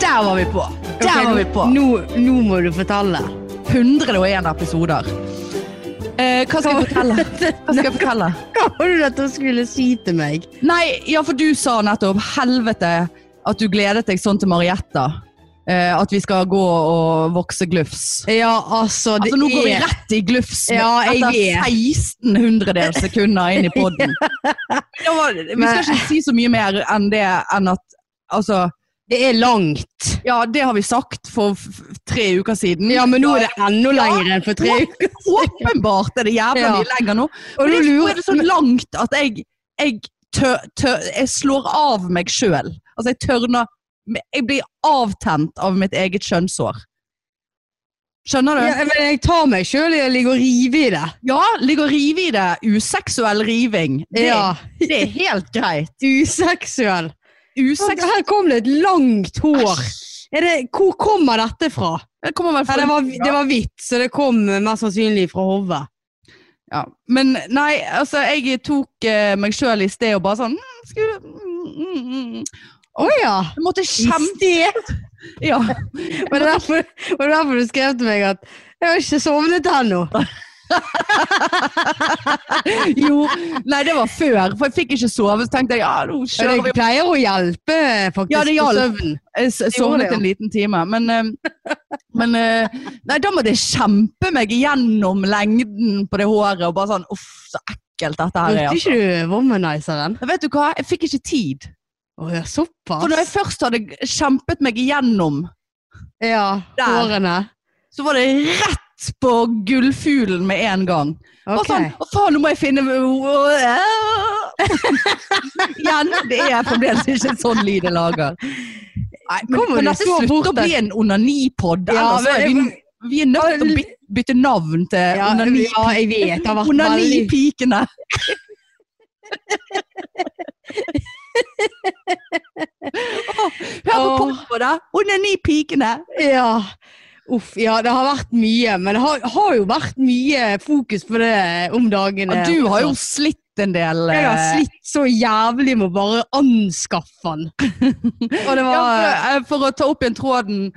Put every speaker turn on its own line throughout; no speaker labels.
Der var vi på! Der
Ok,
var vi på.
Nå, nå må du fortelle.
101 episoder. Eh, hva skal jeg fortelle? Hva skal jeg fortelle?
Hva var det at hun skulle si til meg?
Nei, ja, for du sa nettopp helvete at du gledet deg sånn til Marietta. Eh, at vi skal gå og vokse glufs.
Ja, altså, det
Altså, nå går vi
er
rett i glufs med-
Ja, jeg
etter
vet.
16 hundredels sekunder inn i podden. Da var- Vi skal
Men-
ikke si så mye mer enn det enn at altså,
Det er langt.
Ja, det har vi sagt for f f- tre uker siden.
Ja, men nå er det enda lenger enn for tre uker.
Åpenbart er det jævla
Ja.
mye lenger nå.
Og
Men
nå
det, nå er
lurer
det så langt at jeg, jeg, tør, tør, jeg slår av meg sjøl. Altså, jeg tørner Jeg blir avtent av mitt eget kjønnshår. Skjønner du?
ja, men Jeg tar meg sjøl i å ligge og rive i det.
Ja, ligger og rive i det. Useksuell riving. Det,
Ja.
det er helt greit.
Useksuell.
Useksuell
Her kom det et langt hår. Er det, hvor kommer dette fra?
Det kommer vel
Ja,
fra
det, var, det var hvitt, så det kom eh, mest sannsynlig fra hodet.
Ja. Men nei, altså, jeg tok eh, meg sjøl i sted og bare sånn mm, skulle, mm, mm, mm.
Å ja!
Jeg måtte
I
kjempe
sted.
ja.
Var det derfor, var det derfor du skrev til meg at jeg har ikke sovnet ennå?
Jo, nei, det var før, for jeg fikk ikke sove. Så tenkte jeg ja, nå
Ja,
kjører vi
det pleier å hjelpe faktisk
Ja, det
på
hjalp.
søvnen.
Jeg s-
gjorde
sovnet
det, ja.
en liten time. Men, eh, men eh, Nei, da måtte jeg kjempe meg gjennom lengden på det håret og bare sånn Uff, så ekkelt dette her er.
Brukte
Altså.
ikke du womanizeren?
Men Vet du hva, jeg fikk ikke tid.
Å ja,
For når jeg
såpass?
først hadde g- kjempet meg igjennom,
Ja,
Der.
hårene.
så var det rett på gullfuglen med en gang. Bare
Ok.
sånn Å, faen, nå må jeg finne Igjen. Det er fremdeles ikke en sånn lyd jeg lager. Nei, men,
Kommer
men
du
dette
så bort
slutter å
der?
bli en onanipod.
Ja,
ellers er
men-
vi, vi er nødt til å bytte, bytte navn til
Ja,
onani.
ja, jeg vet. Det har vært veldig
Onanipikene. Åh, Hør på
Åh.
på det! Onanipikene.
Ja. Uff, ja, det har vært mye. Men det har, har jo vært mye fokus på det om dagene.
Ja, du har jo slitt en del.
altså. Jeg har
eh,
slitt så jævlig med å bare anskaffe den. Og det
Ja,
var
for, eh, for å ta opp igjen tråden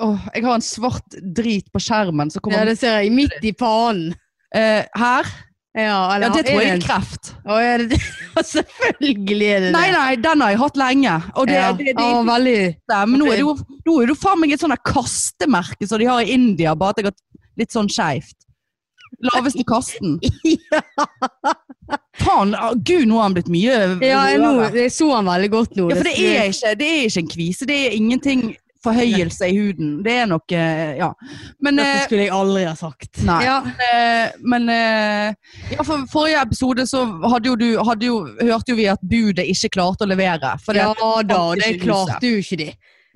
Åh, Jeg har en svart drit på skjermen som
Ja,
kommer
det ser jeg. Midt i panen.
eh, her.
Ja,
Ja,
eller
det tror jeg
en-
er kreft.
Å, ja, det, selvfølgelig er det det.
Nei, nei, den har jeg hatt lenge. Og det,
ja.
det, det,
ja, veldig.
det, men nå er det jo, nå er det jo faen meg et sånt der kastemerke som de har i India, bare at jeg har litt sånn skeivt. Laveste kasten. Faen, ah, gud, nå har han blitt mye
Ja, jeg, nå,
rødere.
jeg så han veldig godt nå.
Ja, for det er, ikke, det er ikke en kvise. Det er ingenting forhøyelse i huden. Det er noe Ja. Men eh,
Dette skulle jeg aldri ha sagt.
Nei.
Ja.
Eh, men eh, ja, for forrige episode så hadde jo du, hadde jo, hørte jo vi at budet ikke klarte å levere. For det,
ja da,
ikke
det
lyset.
klarte jo ikke de.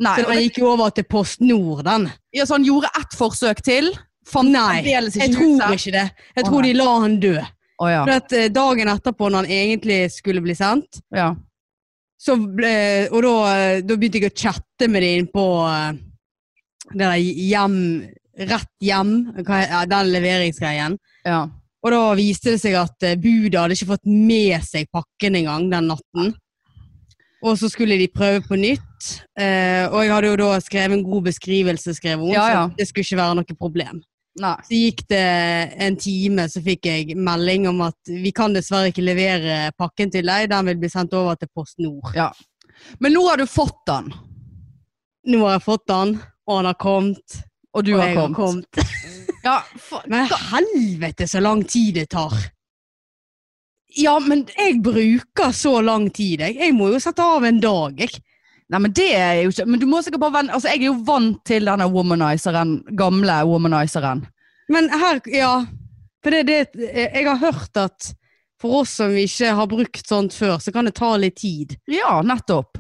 nei,
Så
og
den
det,
gikk jo over til Post Nord, den.
ja, så han gjorde ett forsøk til. Fant
Nei,
fremdeles
Jeg
ikke
tror
huset.
ikke det. Jeg
Å,
tror
nei.
de la han dø.
Å, ja.
For at eh, dagen etterpå, når han egentlig skulle bli sendt,
Ja.
så ble, og da, eh, da begynte jeg å chatte med dem på eh, det der hjem, rett hjem, hva, he- ja, den leveringsgreien.
Ja.
Og da viste det seg at eh, budet hadde ikke fått med seg pakken engang den natten. Og så skulle de prøve på nytt. eh, og jeg hadde jo da skrevet en god beskrivelse, skrev hun,
Ja, ja.
så det skulle ikke være noe problem.
Nei.
Så gikk det en time, så fikk jeg melding om at vi kan dessverre ikke levere pakken til deg, den vil bli sendt over til Post Nord.
Men nå har du fått den,
Nå har jeg fått den, og han har kommet.
og du
og
har
jeg
kommet. Ja, for,
Men helvete så lang tid det tar.
ja, men
Jeg bruker så lang tid, jeg. Jeg må jo sette av en dag, jeg.
Nei, men det er jo ikke Men du må sikkert bare venne Altså, jeg er jo vant til denne womanizeren, gamle womanizeren.
Men her, ja For det, er det, jeg har hørt at for oss som ikke har brukt sånt før, så kan det ta litt tid.
Ja, nettopp.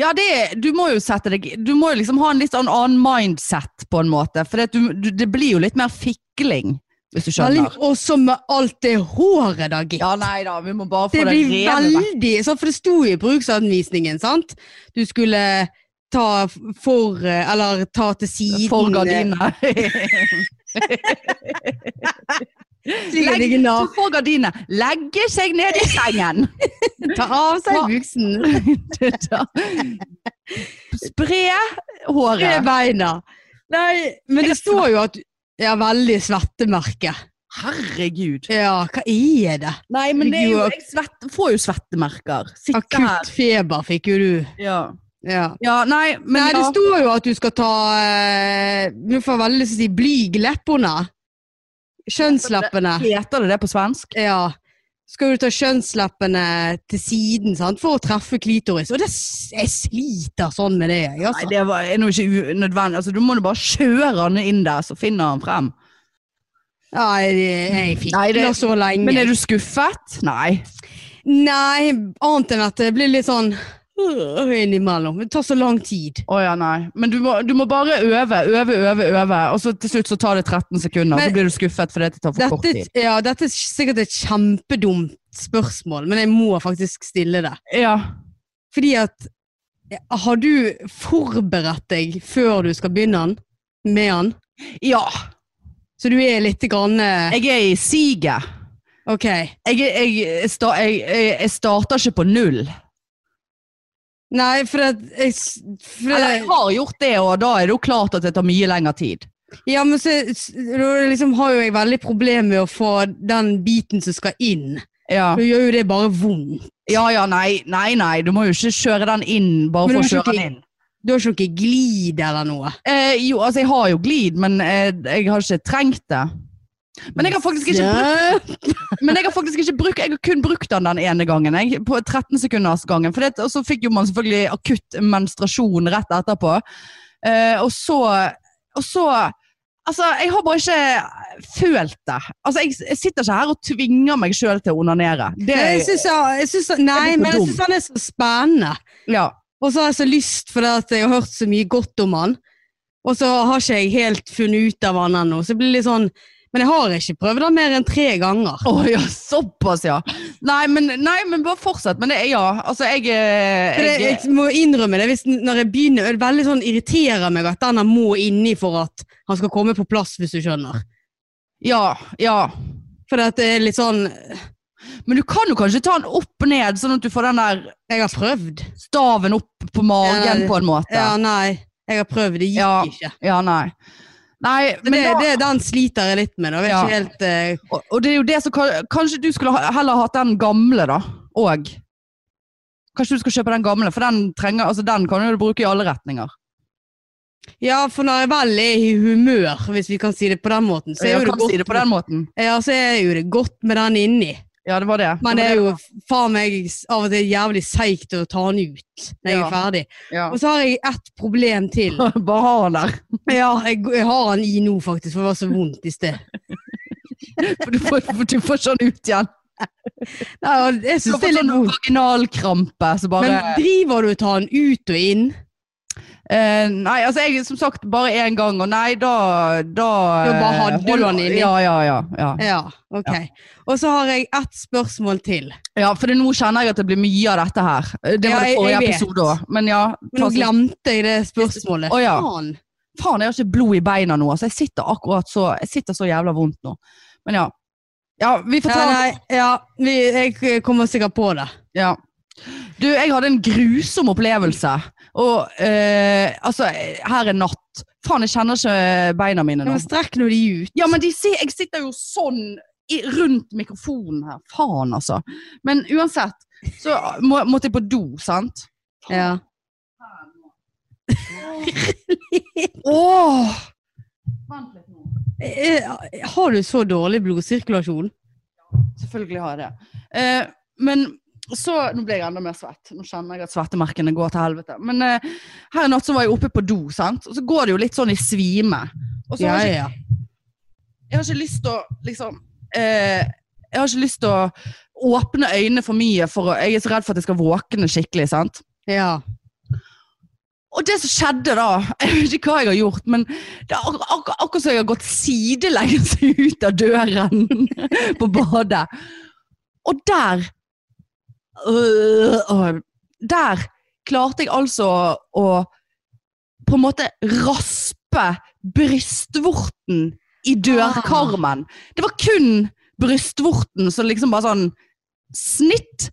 Ja, det, er- du må jo sette deg Du må jo liksom ha en litt sånn annen mindset, på en måte. For det, at du, du, det blir jo litt mer fikling, hvis du skjønner.
Veldig- Og så med alt det håret, da, gitt.
Ja, nei da, vi må bare få
det
det,
blir
rene vekk.
veldig sånn, For det sto jo i bruksanvisningen, sant? Du skulle ta for Eller ta til siden
For gardinene.
Slik at det ikke nav-
For gardinene. Legge seg ned i sengen.
Ta av seg buksen.
Det da. Spre
Tre
håret.
beina. Nei, men
Jeg
det
er
står jo at Ja, veldig svettemerke.
Herregud.
Ja, hva er det?
Nei, men det er jo, jeg svett, får jo svettemerker. Sitte her.
Akutt feber fikk jo du.
Ja.
Ja.
ja, nei, men
Nei, det
ja.
står jo at du skal ta eh, Nå får jeg veldig lyst til å si blyg leppene. Kjønnsleppene.
Heter det det på svensk?
Ja. Skal du ta kjønnsleppene til siden sant? for å treffe klitoris. Og det, s- jeg sliter sånn med det. Jeg,
Nei,
altså.
det var, er nå ikke unødvendig. Altså, du må jo bare kjøre han inn der, så finner han frem.
Nei, det- jeg fikk
Nei, det-
det så lenge.
Men er du skuffet? Nei.
Nei, annet enn at det blir litt sånn øh, innimellom. Det tar så lang tid.
Å ja, nei. Men du må, du må bare øve, øve, øve, øve. Og så til slutt så tar det 13 sekunder,
Men-
så blir du skuffet fordi det tar for kort
Dette,
tid.
ja, dette er sikkert et kjempedumt spørsmål, men jeg må faktisk stille det.
Ja.
Fordi at eh, Har du forberedt deg før du skal begynne den, med den?
ja.
Så du er litt grann eh,
Jeg er i siget.
OK.
Jeg, jeg, jeg, sta- jeg, jeg, jeg starter ikke på null.
Nei, for at jeg, s- for
Eller jeg
at,
har gjort det, og da er det jo klart at det tar mye lengre tid.
Ja, men så s- da liksom har jo jeg veldig problemer med å få den biten som skal inn.
Ja,
Da gjør jo det bare vondt.
ja, ja nei, nei, nei. Du må jo ikke kjøre den inn bare
Men
for å
du må
kjøre
ikke-
den inn.
Du har jo ikke glid eller noe.
Eh, jo, altså jeg har jo glid, men eh, jeg har ikke trengt det. Men jeg har faktisk ikke brukt
brukt
Men jeg har faktisk ikke brukt Jeg har kun brukt den den ene gangen. Jeg, på 13 sekunders gangen. For det, og så fikk jo man selvfølgelig akutt menstruasjon rett etterpå. Eh, og så Og så Altså, jeg har bare ikke følt det. Altså, jeg, jeg sitter ikke her og tvinger meg sjøl til å onanere. Det,
Nei, jeg syns, jeg syns,
Det
nei
er litt
men jeg
dum.
syns han er så spennende.
ja.
Og så har jeg så lyst, for at jeg har hørt så mye godt om han. Og så har ikke jeg helt funnet ut av han ennå. Så det blir litt sånn Men jeg har ikke prøvd han mer enn tre ganger.
Å ja, såpass, ja. Nei, men, nei, men bare fortsett. Men det er ja. Altså, jeg, eh,
For det,
jeg
jeg må innrømme det, hvis, når jeg begynner, det er veldig sånn irriterer meg at den han må inni for at han skal komme på plass, hvis du skjønner.
Ja. Ja.
For at det er litt sånn
Men du kan jo kanskje ta den opp ned, sånn at du får den der
Jeg har prøvd.
staven opp på
Ja,
magen
det-
på en måte.
Ja,
Ja,
nei. Jeg har prøvd. Det gikk
Ja.
ikke.
nei. Nei,
Men
men
det,
da,
det, den sliter jeg litt med. Da. Jeg vet
Ja.
ikke helt eh,
og- og det er jo det som kan- Kanskje du skulle ha, heller hatt den gamle, da. Og. Kanskje du skal kjøpe den gamle, for den, trenger, altså, den kan du bruke i alle retninger.
Ja, for når jeg vel er i humør, hvis vi kan si det på den måten, så er,
Jeg
jo, det
kan
godt,
si det på den måten.
Ja, så er jo det godt med den inni.
Ja, det var det.
Men det
det
er
var
jo faen meg s- av og til jævlig seigt å ta den ut når jeg
Ja.
er ferdig.
Ja.
Og så har jeg ett problem til.
Bare ha den der.
Ja, jeg, jeg har den i nå, faktisk, for det var så vondt i sted.
For du får, for du får sånn ut igjen.
Nei, og jeg
Du
syns
får
det er litt
sånn
vondt.
vaginalkrampe. Så bare
Men driver du og tar den ut og inn?
Eh, nei, altså jeg som sagt bare én gang, og nei, da Da eh,
Da bare hadde du
hold-
han inni.
Ja, ja, ja. ja.
Ja, ok. Og så har jeg ett spørsmål til.
Ja, for det, nå kjenner jeg at det blir mye av dette her. Eh, Det
Ja,
var det
jeg-
forrige
jeg vet.
episode òg. Men ja.
Men nå
ta så-
glemte jeg det spørsmålet.
Å, ja.
Faen.
Faen, jeg har ikke blod i beina nå. Altså, jeg sitter akkurat så Jeg sitter så jævla vondt nå. Men ja. Ja, vi får ta
Ja, nei, ja, vi, jeg kommer sikkert på det.
ja. Du, jeg hadde en grusom opplevelse. Og eh, altså, her er natt. Faen, jeg kjenner ikke beina mine
Ja,
nå.
men strekk nå de ut.
Ja, men de ser, jeg sitter jo sånn i, rundt mikrofonen her. Faen, altså. Men uansett, så må, måtte jeg på do, sant?
Ja.
Åh! Vent litt nå.
Eh, Har du så dårlig blodsirkulasjon?
Selvfølgelig har jeg det. Eh, men så Nå ble jeg enda mer svett. Nå kjenner jeg at svettemerkene går til helvete. Men eh, her i natt så var jeg oppe på do, sant? og så går det jo litt sånn i svime. Og så
Ja,
har jeg,
ja.
ikke- jeg har ikke lyst til å liksom eh, Jeg har ikke lyst til å åpne øynene for mye, for å, jeg er så redd for at jeg skal våkne skikkelig. sant?
ja.
Og det som skjedde da, jeg vet ikke hva jeg har gjort, men det er ak ak akkurat som jeg har gått sidelengs ut av døren på badet. Og der øh, øh, Der klarte jeg altså å på en måte raspe brystvorten i dørkarmen. Det var kun brystvorten som liksom bare sånn Snitt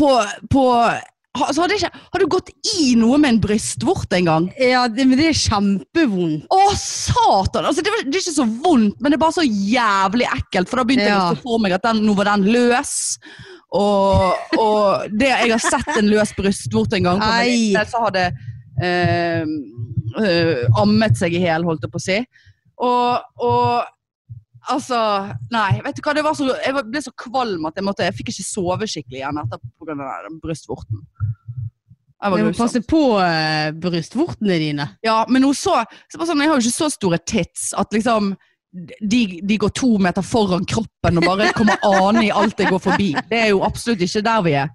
på, på ha- så hadde, jeg ikke, hadde du gått i noe med en brystvort en gang?
Ja, det, men det er kjempevondt.
Å, satan! Altså, det, var, det er ikke så vondt, men det er bare så jævlig ekkelt. For da begynte
Ja.
jeg liksom å se for meg at den, nå var den løs. Og, og det, jeg har sett en løs brystvort en gang. på en
Ei.
venninne som hadde eh, eh, ammet seg i hjel, holdt jeg på å si. Og, og Altså, nei. vet du hva, det var så, Jeg var- ble så kvalm at jeg måtte Jeg fikk ikke sove skikkelig igjen etterpå pga. den der brystvorten. Jeg var
Du må
grusom.
passe på eh, brystvortene dine.
Ja, men hun så, så bare sånn, Jeg har jo ikke så store tits at liksom de, de går to meter foran kroppen og bare kommer ane i alt jeg går forbi. Det er jo absolutt ikke der vi er.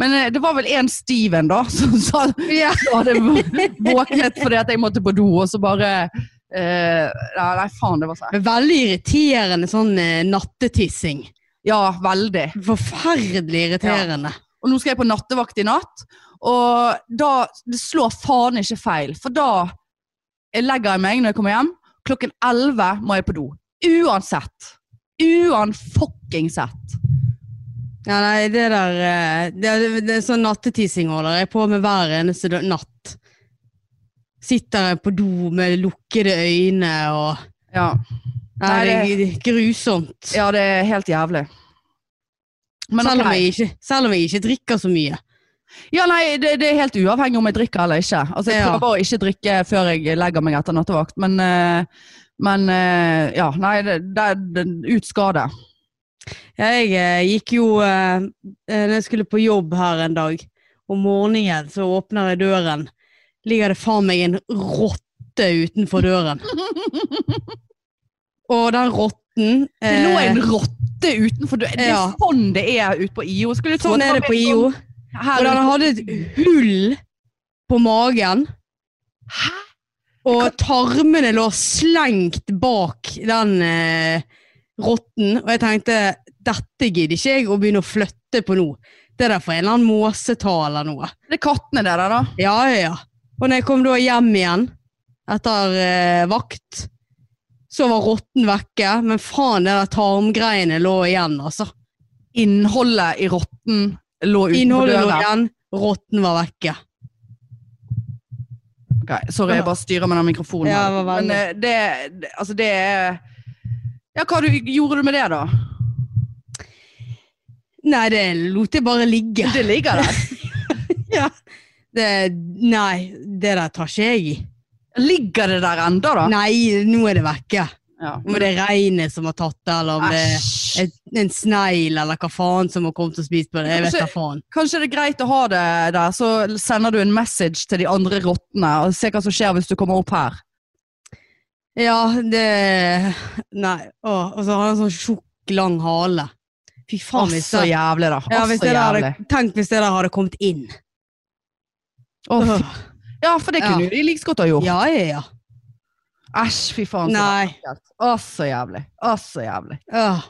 Men eh, det var vel en Steven da som sa
Ja.
så hadde jeg vå- våknet fordi at jeg måtte på do, og så bare eh, Nei, nei, faen, det var sånn.
Men Veldig irriterende sånn eh, nattetissing.
Ja, veldig.
Forferdelig irriterende.
Og nå skal jeg på nattevakt i natt, og da Det slår faen ikke feil, for da jeg legger jeg meg når jeg kommer hjem. Klokken 11 må jeg på do. Uansett. Uanfuckingsett.
Ja, nei, det der eh, det, det, det er Sånn nattetissing holder jeg på med hver eneste dø- natt. Sitter jeg på do med lukkede øyne og
Ja.
Nei,
Nei,
det er grusomt.
ja, det er helt jævlig. Men
selv, om
ok.
jeg ikke, selv om jeg ikke drikker så mye.
Ja, nei, det, det er helt uavhengig om jeg drikker eller ikke. Altså, Jeg
Ja.
prøver å ikke drikke før jeg legger meg etter nattevakt, men, eh, men eh, ja, nei, det, det, det, ut skal det.
Jeg eh, gikk jo eh, eh, Når jeg skulle på jobb her en dag, om morgenen så åpner jeg døren. Ligger det faen meg en rotte utenfor døren. Og den rotten
Det lå
eh,
en rotte utenfor døren. Det er
Ja.
sånn det er ute på IO. Skulle tro
Sånn
at
er det
var
på
mer
IO.
sånn Her,
Og den hadde et hull på magen.
Hæ?
Og tarmene lå slengt bak den eh, rotten. Og jeg tenkte dette gidder ikke jeg å begynne å flytte på nå. Det er derfor en eller annen måseta eller noe.
Det er kattene det der, da.
Ja, ja, ja. Og når jeg kom da hjem igjen etter eh, vakt, så var rotten vekke. Men faen, det der tarmgreiene lå igjen, altså.
Innholdet i rotten lå utenfor
Innholdet lå
døren.
igjen, rotten var vekke.
Ok, sorry, jeg bare styrer med den mikrofonen.
Ja,
her.
det var veldig.
men eh, det, det- altså, det er Ja, hva du, gjorde du med det, da?
Nei, det lot jeg bare ligge.
Det ligger der.
Ja. Det, nei, det der tar ikke jeg i.
Ligger det der ennå, da?
Nei, nå er det vekke.
Ja.
Om det er regnet som har tatt det, eller om det er
Æsj.
et, en snegl, eller hva faen som har kommet og spist på det. Jeg vet
Kanskje-
da faen.
Kanskje det er greit å ha det der, så sender du en message til de andre rottene og se hva som skjer hvis du kommer opp her.
Ja, det Nei. Å, og så har han sånn tjukk, lang hale. Fy
Å,
faen, hvis
så
det,
jævlig, da.
ja,
Å,
hvis
så
det der hadde,
jævlig.
Tenk hvis det der hadde kommet inn.
Å,
Åh.
fy- Ja, for det kunne
Ja.
jo de like så godt ha gjort.
Ja, ja, ja.
Æsj, fy faen. så
Nei.
ekkelt. Å, så jævlig. Å, så jævlig.
Åh.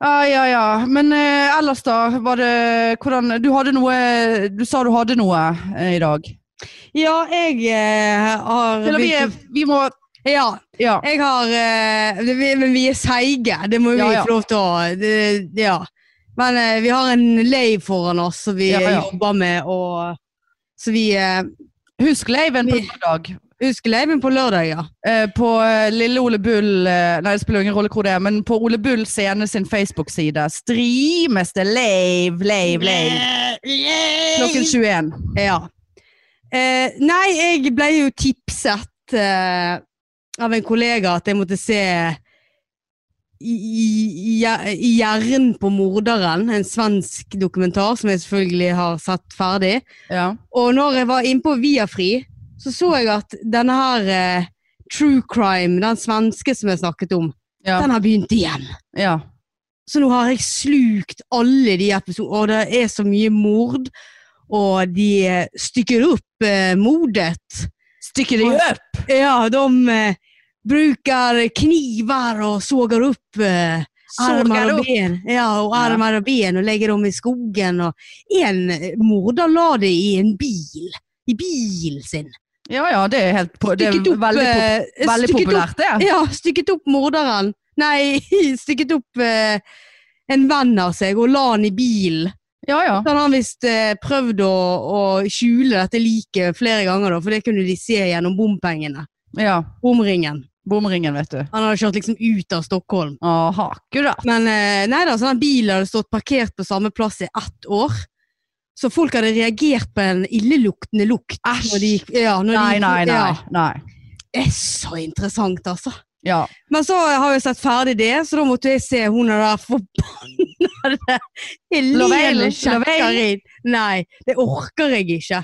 Ja, ja, ja. Men eh, ellers da, var det hvordan Du hadde noe Du sa du hadde noe eh, i dag.
Ja, jeg eh, har
Eller vi, er-
begynt
vi må
å- Ja.
Ja.
Jeg har eh, det- vi, Men vi er seige. Det må vi
Ja, ja.
få lov til å det, Ja. Men eh, vi har en lei foran oss som vi
Ja, ja.
jobber med, og så vi eh,
Husk laven på
Vi-
lørdag.
Husker leiven på lørdag, ja.
Eh, på eh, Lille Ole Bull eh, Nei, det spiller ingen rolle hvor det er, men på Ole Bull scene sin Facebook-side streames det lave, lave, lave klokken 21.
Ja. Eh, nei, jeg ble jo tipset eh, av en kollega at jeg måtte se i, i, I hjernen på morderen, en svensk dokumentar som jeg selvfølgelig har sett ferdig.
Ja.
Og når jeg var inne på Viafri, så så jeg at denne her eh, true crime, den svenske som jeg snakket om,
Ja.
den har begynt igjen.
ja.
Så nå har jeg slukt alle de episodene, og det er så mye mord. Og de eh, stykker opp eh, mordet.
Stykker de opp!
Ja, de eh, bruker kniver og sågar opp eh,
Sågar
armer og
opp!
ben. Ja, og armer og ben, og legger dem i skogen. Og en eh, morder la det i en bil. I bilen sin.
Ja ja, det er, helt, po- det er
Stykket opp,
veldig, pop
eh,
veldig
stykket opp
populært, det.
ja, stykket opp morderen. Nei, stykket opp eh, en venn av seg og la han i bilen.
Ja, ja.
Så han har visst eh, prøvd å, å skjule dette liket flere ganger, da, for det kunne de se gjennom bompengene.
ja.
Bomringen.
Bomringen, vet du.
Han hadde kjørt liksom ut av Stockholm.
Aha, akkurat.
Men eh, nei da, så den bilen hadde stått parkert på samme plass i ett år. Så folk hadde reagert på en illeluktende lukt.
Æsj.
Når de gikk, ja, når de
Nei,
gikk-
nei, nei.
Ja,
nei.
det er så interessant, altså.
Ja.
Men så har jeg sett ferdig det, så da måtte jeg se hun der forbannede Helene
Lovell,
Kjekkarin. Nei, det orker jeg ikke.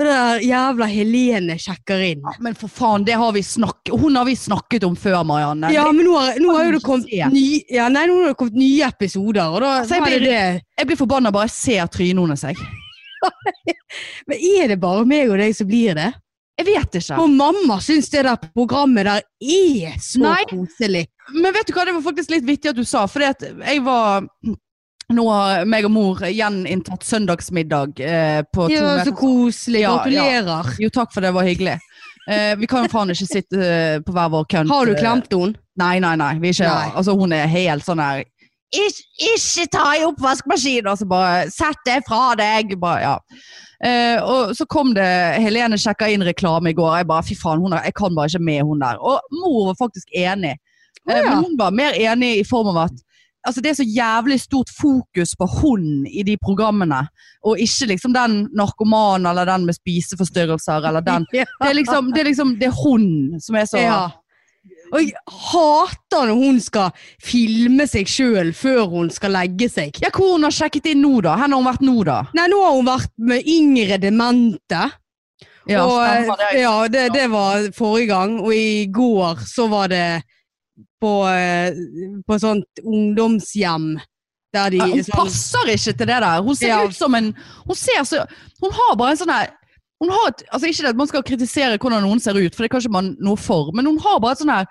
Det der jævla Helene Kjekkarin.
Ja, Men for faen, det har vi snakket, hun har vi snakket om før, Marianne.
Ja, men nå har, nå har jo det
ikke
kommet,
se.
ny, ja, nei, nå har det kommet nye episoder, og da
Så Altså, jeg
var det
blir-
det.
Jeg blir forbanna bare jeg ser trynet hennes. jeg.
Men er det bare meg og deg som blir det?
Jeg vet ikke.
Og mamma syns det der programmet der er så
Nei.
koselig.
Men vet du hva, det var faktisk litt vittig at du sa, for jeg var Nå har meg og mor gjeninntatt søndagsmiddag eh, på to
Ja, så
meter.
koselig.
Ja, ja.
Gratulerer.
Jo, takk for det, det var hyggelig. Eh, vi kan jo faen ikke sitte eh, på hver vår kønt.
Har du klemt henne?
Nei, nei, nei. Vi er ikke,
Nei.
Altså, hun er helt sånn her Ikke, ikke ta i oppvaskmaskinen! Og så bare Sett det fra deg! Bare, ja. Eh, og så kom det Helene sjekka inn reklame i går. Jeg bare Fy faen, hun er, jeg kan bare ikke med hun der. Og mor var faktisk enig.
Å,
Eh,
ja.
Men hun var mer enig i form av at Altså, det er så jævlig stort fokus på hun i de programmene, og ikke liksom den narkomanen eller den med spiseforstyrrelser eller den Det er liksom det er, liksom, det er hun som er så
Ja. Og jeg hater når hun skal filme seg sjøl før hun skal legge seg.
Ja, hvor hun har sjekket inn nå, da? Hvor har hun vært nå, da?
Nei, nå har hun vært med yngre demente.
Ja,
og, eh,
stemmer det.
ja det, det var forrige gang. Og i går så var det på, eh, på sånt ungdomshjem der de
Ja, Hun
sånn-
passer ikke til det der. Hun ser
Ja.
ut som en Hun ser så Hun har bare en sånn her hun har et, altså Ikke det at man skal kritisere hvordan noen ser ut, for det kan ikke man noe for, men hun har bare et sånn her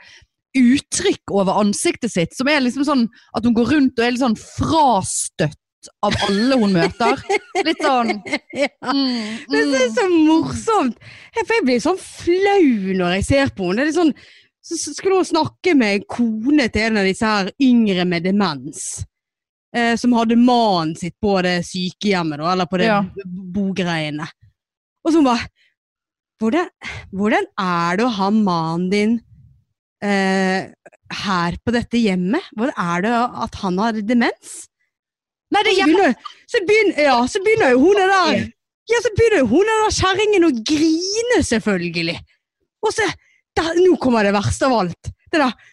uttrykk over ansiktet sitt som er liksom sånn at hun går rundt og er litt sånn frastøtt av alle hun møter. Litt sånn
Ja.
mm,
Det
mm.
er så morsomt! Jeg, for jeg blir sånn flau når jeg ser på henne. Det er litt sånn, så så skulle hun snakke med en kone til en av disse her yngre med demens. Eh, som hadde mannen sitt på det sykehjemmet, da, eller på det
Ja.
b- bogreiene. Og så hun bare hvordan, hvordan er det å ha mannen din eh, her på dette hjemmet? Hvordan er det at han har demens?
Nei, det
Så
er
begynner, så begynner, ja, så begynner jo hun der Ja, så begynner jo hun der kjerringen å grine, selvfølgelig. Og så der, Nå kommer det verste av alt. Det der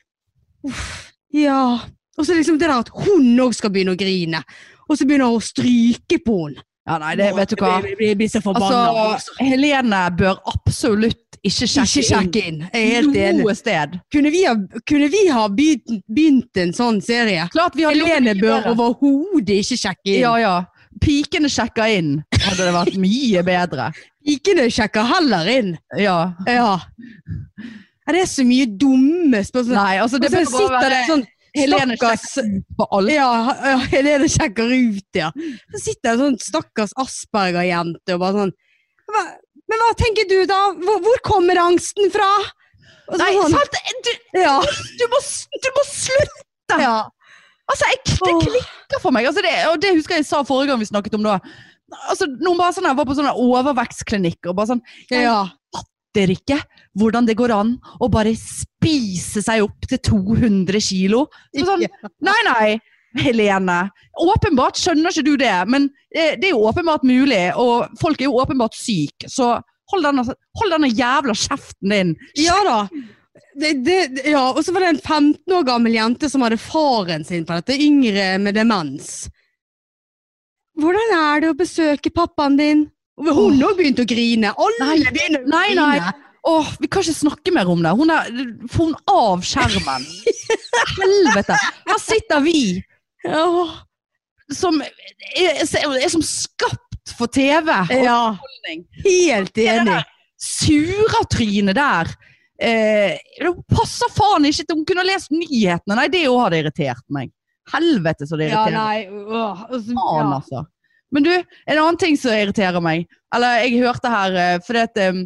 Uff, ja Og så liksom det der at hun òg skal begynne å grine. Og så begynner hun å stryke på henne.
Ja, nei, det, vet du hva.
Jeg blir- jeg blir så forbanna.
Altså, Helene bør absolutt ikke
ikke
sjekke inn
sjekke inn. Jeg er helt enig.
noe sted.
Kunne vi ha, kunne vi ha begynt, begynt en sånn serie?
Klart vi har gjort
Helene
mye
bør
bedre.
overhodet ikke sjekke inn.
Ja, ja. Pikene sjekker inn. Hadde det vært mye bedre.
Pikene sjekker heller inn.
Ja.
Ja. Ja, Det er så mye dumme spørsmål.
Nei, altså
Og
det
så
bør bare
sitter det
være
sånn
Helene
stakkars
sjekker på alt.
ja, ja, Helene sjekker ut, ja. Så sitter det en sånn stakkars Asperger-jente og bare sånn hva, Men hva tenker du, da? Hvor, hvor kommer angsten fra? Og så
Nei,
sånn,
sant? Du,
ja,
du, må, s- du må slutte!
ja.
Altså, jeg, det
Åh.
klikker for meg. Altså, det, og det husker jeg sa forrige gang vi snakket om det. Altså, noen bare sånn her, var på sånn her overvekstklinikk og bare sånn
ja.
fatter ikke hvordan det går an å bare spise seg opp til 200 kilo. Så sånn, nei, nei, Helene. Åpenbart skjønner ikke du det, men eh, det er jo åpenbart mulig, og folk er jo åpenbart syke, så hold denne, hold denne jævla kjeften din.
Ja da. Det, det, det- ja, og så var det en 15 år gammel jente som hadde faren sin på dette, yngre med demens. Hvordan er det å besøke pappaen din? Og Hun òg begynte å grine. Alle
Nei,
begynner å
nei, nei.
grine.
Åh, vi kan ikke snakke mer om det. Hun er, får hun av skjermen. Helvete. Her sitter vi
Åh,
som er, er som skapt for TV.
ja,
Ja.
helt
det
enig.
der surertrynet der eh, Hun passer faen ikke til Hun kunne ha lest nyhetene. Nei, det òg hadde irritert meg. Helvete så det
Ja,
irriterer.
nei. åh, og så-
faen,
ja.
altså. Men du, en annen ting som irriterer meg. Eller jeg hørte her eh, fordi at eh,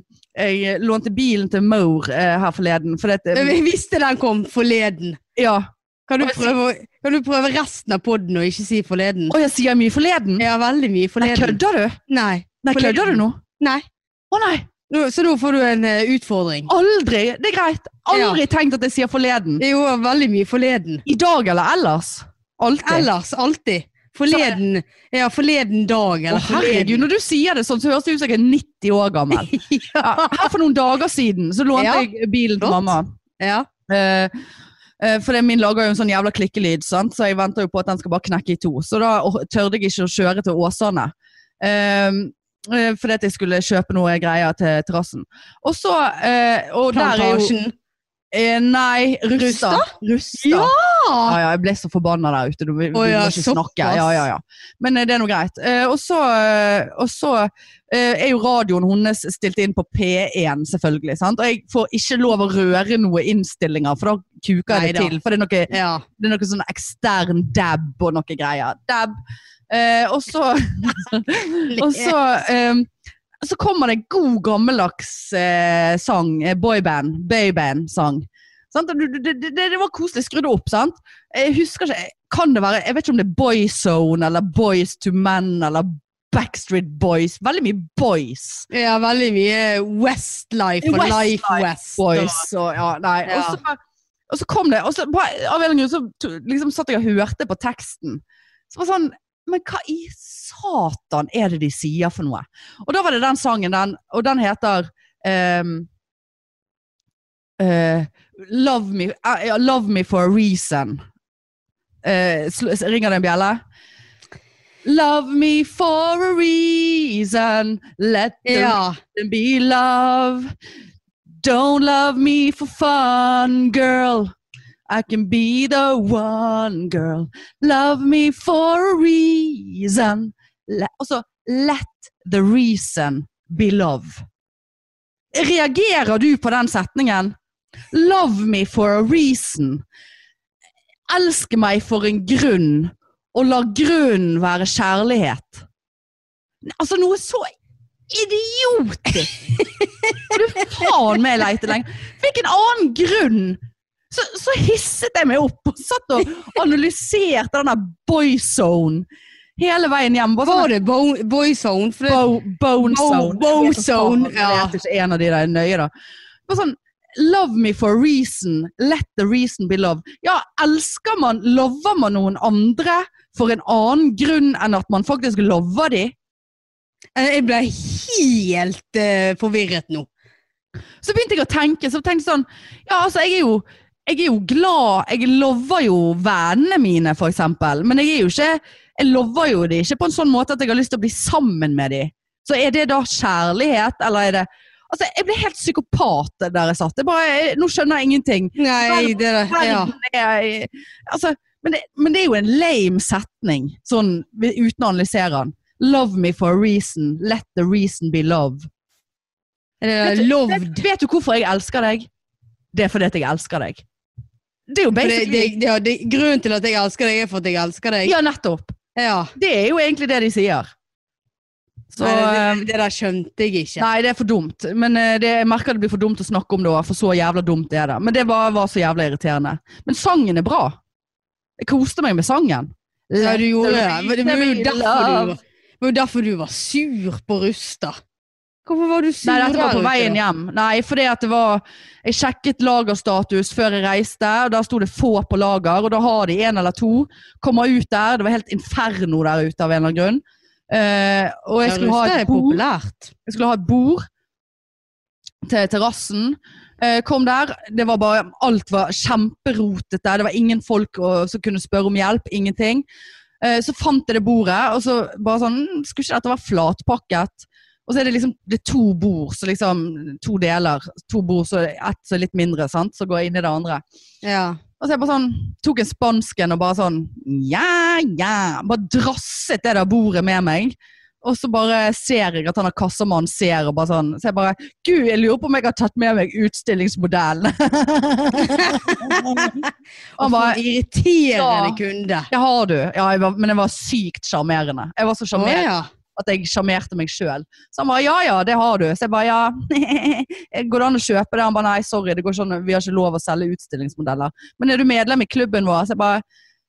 jeg lånte bilen til Moore eh, her forleden. Fordi at eh,
Jeg visste den kom forleden.
Ja.
Kan du,
Og jeg
prøve, å- kan du prøve resten av poden og ikke si forleden?
Å, jeg sier mye forleden?
Ja, veldig
Nei,
mye forleden.
kødder du?
Nei.
Nei,
Forleden.
kødder du nå?
Nei.
Å nei,
Nå, så nå får du en eh, utfordring.
aldri! Det er greit. Aldri tenkt at jeg sier forleden.
Jo, veldig mye forleden.
I dag eller ellers? Alltid.
Ellers alltid. Forleden, ja, forleden
Å
dag eller
herregud, når du sier det sånn, så høres det ut som jeg er 90 år gammel. ja. Her for noen dager siden så lånte
Ja,
jeg bilen til
flott.
mamma.
Ja.
Eh, eh, for det min lager jo en sånn jævla klikkelyd, sant? så jeg venter jo på at den skal bare knekke i to. Så da or- tørde jeg ikke å kjøre til Åsane. Um, eh, fordi at jeg skulle kjøpe noe greier til terrassen. Og så eh, Og der er jo
Plantasjen.
eh, Nei, Rusta. Rusta.
Ja!
Ja, ja, jeg ble så forbanna der ute. Du, vi,
Ah. Å,
vi
ja,
må ikke
såpass.
snakke. Ja, ja, ja. Men eh, det er nå greit. Eh, og så, eh, og så eh, er jo radioen hennes stilt inn på P1, selvfølgelig. Sant? Og jeg får ikke lov å røre noe innstillinger, for da kuker jeg det
Neida.
til. For det er noe,
Ja.
det er noe sånn ekstern dab og noe greier. Dab. Eh, og så og så, ehm, så kommer det en god gammeldags eh, sang, eh, boyband, bayband-sang. Sant? Og du- du- Det, det, det var koselig, jeg skrudde opp, sant? Jeg husker ikke, kan det være, jeg vet ikke om det er Boyzone, eller Boys to Men, eller Backstreet Boys, veldig mye boys.
ja, veldig mye Westlife og
Westlife
Life West.
Boys, og ja, nei.
Ja.
Og, så, og så kom det, og så, på, av en eller annen grunn, så to- liksom satt jeg og hørte på teksten. Så var det sånn, men hva i satan er det de sier for noe? Og da var det den sangen, den, og den heter ehm, eh, love, me, eh, ja, love me for a reason. Eh, sl- s- ringer det en bjelle? Love me for a reason. Let the
Ja.
and be love. Don't love me for fun, girl. I can be the one, girl. Love me for a reason. Le altså, let the reason be love. Reagerer du på den setningen? Love me for a reason. Elsk meg for en grunn, og la grunnen være kjærlighet. Altså, noe så idiotisk! Skal du faen meg leite lenge? Hvilken annen grunn? Så, så hisset jeg meg opp og satt og analyserte den der boyzone hele veien hjem. Bare sånn
Var det bo Boyzone? For det,
Bo, bone
Bo-
zone.
bone
Jeg vet ikke faen,
zone,
Jeg
ja.
vet ikke en av de der er nøye, da. Bare sånn Love me for a reason. Let the reason be love. Ja, elsker man, lover man noen andre for en annen grunn enn at man faktisk lover de?
Eh, jeg ble helt eh, forvirret nå.
Så begynte jeg å tenke, så tenkte jeg sånn Ja, altså, jeg er jo jeg er jo glad, jeg lover jo vennene mine for eksempel, men jeg er jo ikke, jeg lover jo de ikke på en sånn måte at jeg har lyst til å bli sammen med de. Så er det da kjærlighet, eller er det, altså jeg ble helt psykopat der jeg satt, jeg bare, jeg, nå skjønner jeg ingenting.
Nei, det der, ja.
Verden er, altså, men, det, men det er jo en lame setning, sånn uten å analysere den. Love me for a reason, let the reason be love.
Det
Vet
der
du-
loved.
Vet, vet du hvorfor jeg elsker deg? Det er fordi at jeg elsker deg. Det er jo
For Det,
basically
det, ja, det, grunnen til at jeg elsker deg, er for at jeg elsker deg.
Ja, nettopp.
Ja.
Det er jo egentlig det de sier. Så
Nei, det,
eh,
det, det der skjønte jeg ikke.
Nei, det er for dumt. Men eh, det, jeg merker det blir for dumt å snakke om det òg, for så jævla dumt er det. Men det var, var så jævla irriterende. Men sangen er bra. Jeg koste meg med sangen.
Ja, du gjorde det.
Let
Men Det
the
var jo
reason
derfor du
love.
var, det var, jo derfor du var sur på Rusta. Hvorfor var du sur
Nei, dette var
der
på
ute
veien
da?
hjem. Nei, fordi at det var Jeg sjekket lagerstatus før jeg reiste, og der sto det få på lager, og da har de en eller to. Kommer ut der, det var helt inferno der ute av en eller annen grunn. Eh, og jeg
Ja,
skulle, ha
Rusta
et
er
bord,
populært.
jeg skulle ha et bord til terrassen. Eh, kom der, det var bare Alt var kjemperotete. Det var ingen folk å- som kunne spørre om hjelp. Ingenting. Eh, så fant jeg det bordet, og så bare sånn "Mm, Skulle ikke dette være flatpakket? Og så er det liksom det er to bord, så liksom to deler. To bord, så ett som er litt mindre, sant? så går jeg inn i det andre.
Ja.
Og så er jeg bare sånn, tok en spansken og bare sånn Ja, ja. Bare drasset det der bordet med meg. Og så bare ser jeg at han har kassamannen ser og bare sånn. Så jeg bare Gud, jeg lurer på om jeg har tatt med meg utstillingsmodellen.
Og
han
for
bare
en irriterende
Ja.
kunde.
Det har du. Ja, jeg var, men jeg var sykt sjarmerende. Jeg var så
Å
sjarmerende
ja.
at jeg sjarmerte meg sjøl. Så han bare ja, ja, det har du. Så jeg bare ja. Eh, Går det an å kjøpe det? Han bare nei, sorry, det går sånn, vi har ikke lov å selge utstillingsmodeller. Men er du medlem i klubben vår? Så jeg bare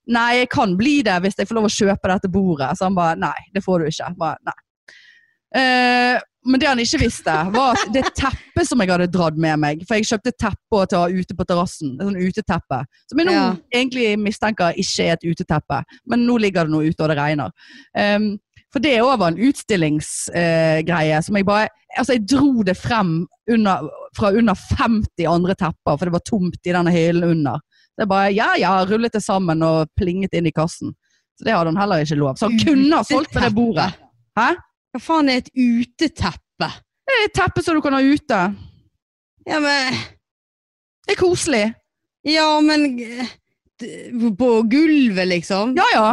nei, jeg kan bli det hvis jeg får lov å kjøpe dette bordet. Så han bare nei, det får du ikke. Jeg Bare, nei. Eh, men det han ikke visste, var at det teppet som jeg hadde dratt med meg For jeg kjøpte teppe å ta ute på terrassen. Et sånn uteteppe. Som jeg nå
Ja.
egentlig mistenker ikke er et uteteppe, men nå ligger det noe ute, og det regner. Ehm, for det òg var en utstillingsgreie som jeg bare Altså, jeg dro det frem under, fra under 50 andre tepper, for det var tomt i denne hyllen under. Det er bare ja, ja, rullet det sammen og plinget inn i kassen. Så det hadde han heller ikke lov. Så han kunne ha solgt på det bordet. Hæ?
Hva faen er et uteteppe?
Det er et teppe som du kan ha ute.
Ja, men,
Det er koselig.
ja, men eh, d- På gulvet, liksom?
Ja, ja.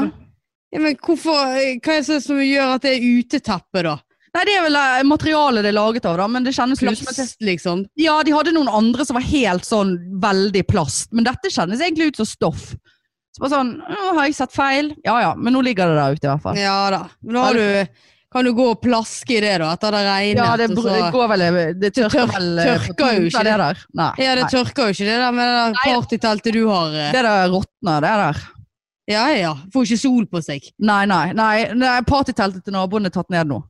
Ja, men hvorfor, hva er det som gjør at det er uteteppe, da?
Nei, det er vel eh, materialet det er laget av, da. Men det kjennes jo ut som et
Plast, liksom?
Ja, de hadde noen andre som var helt sånn veldig plast, men dette kjennes egentlig ut som stoff. Så bare sånn «Å, Har jeg sett feil? Ja ja, men nå ligger det der ute, i hvert fall.
Ja da. Men da har du, kan du gå og plaske i det, da, etter det har regnet?
Ja, det,
og
br-
så-
det går vel eh, Det tørker
Tørk-
vel eh, på
tørker jo
tunta,
ikke
det der. Nei.
ja, det
nei.
tørker jo ikke det der med det der
Nei.
partyteltet du har. eh.
det der råtner, det der.
Ja ja, får ikke sol på seg.
Nei, nei. nei, nei Partyteltet til naboen er tatt ned nå.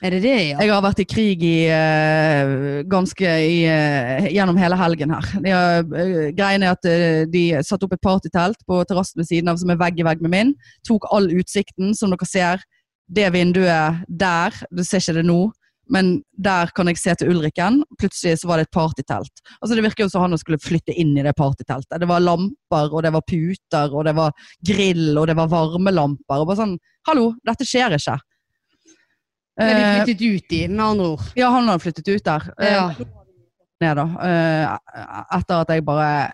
Er det det, ja?
Jeg har vært i krig i, eh, ganske i, eh, gjennom hele helgen her. De har, eh, greien er at eh, de satte opp et partytelt på terrassen ved siden av som er vegg i vegg med min. Tok all utsikten, som dere ser. Det vinduet der, du ser ikke det nå, men der kan jeg se til Ulriken. Plutselig så var det et partytelt. Altså Det virker jo som han skulle flytte inn i det partyteltet. Det var lamper, og det var puter, og det var grill, og det var varmelamper. Og bare sånn Hallo, dette skjer ikke.
Det er de
Eh,
flyttet ut i, med andre ord.
ja, han hadde flyttet ut der. Eh,
Ja.
Ned da. Eh, Etter at jeg bare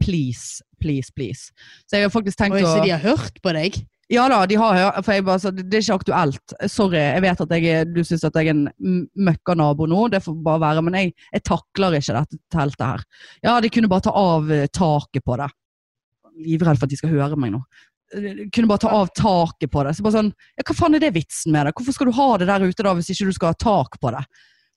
Please, please, please. Så jeg har faktisk tenkt
Oi,
å
så de har hørt på deg?
Ja da, de har hørt, for jeg bare sa det det er ikke aktuelt. Sorry, jeg vet at jeg, er- du syns at jeg er en m- møkkanabo nå, det får bare være. Men jeg, jeg takler ikke dette teltet her. Ja, de kunne bare ta av eh, taket på det. Livredd for at de skal høre meg nå. Eh, De kunne bare ta av taket på det. Så bare sånn, ja, Hva faen er det vitsen med det? Hvorfor skal du ha det der ute da hvis ikke du skal ha tak på det?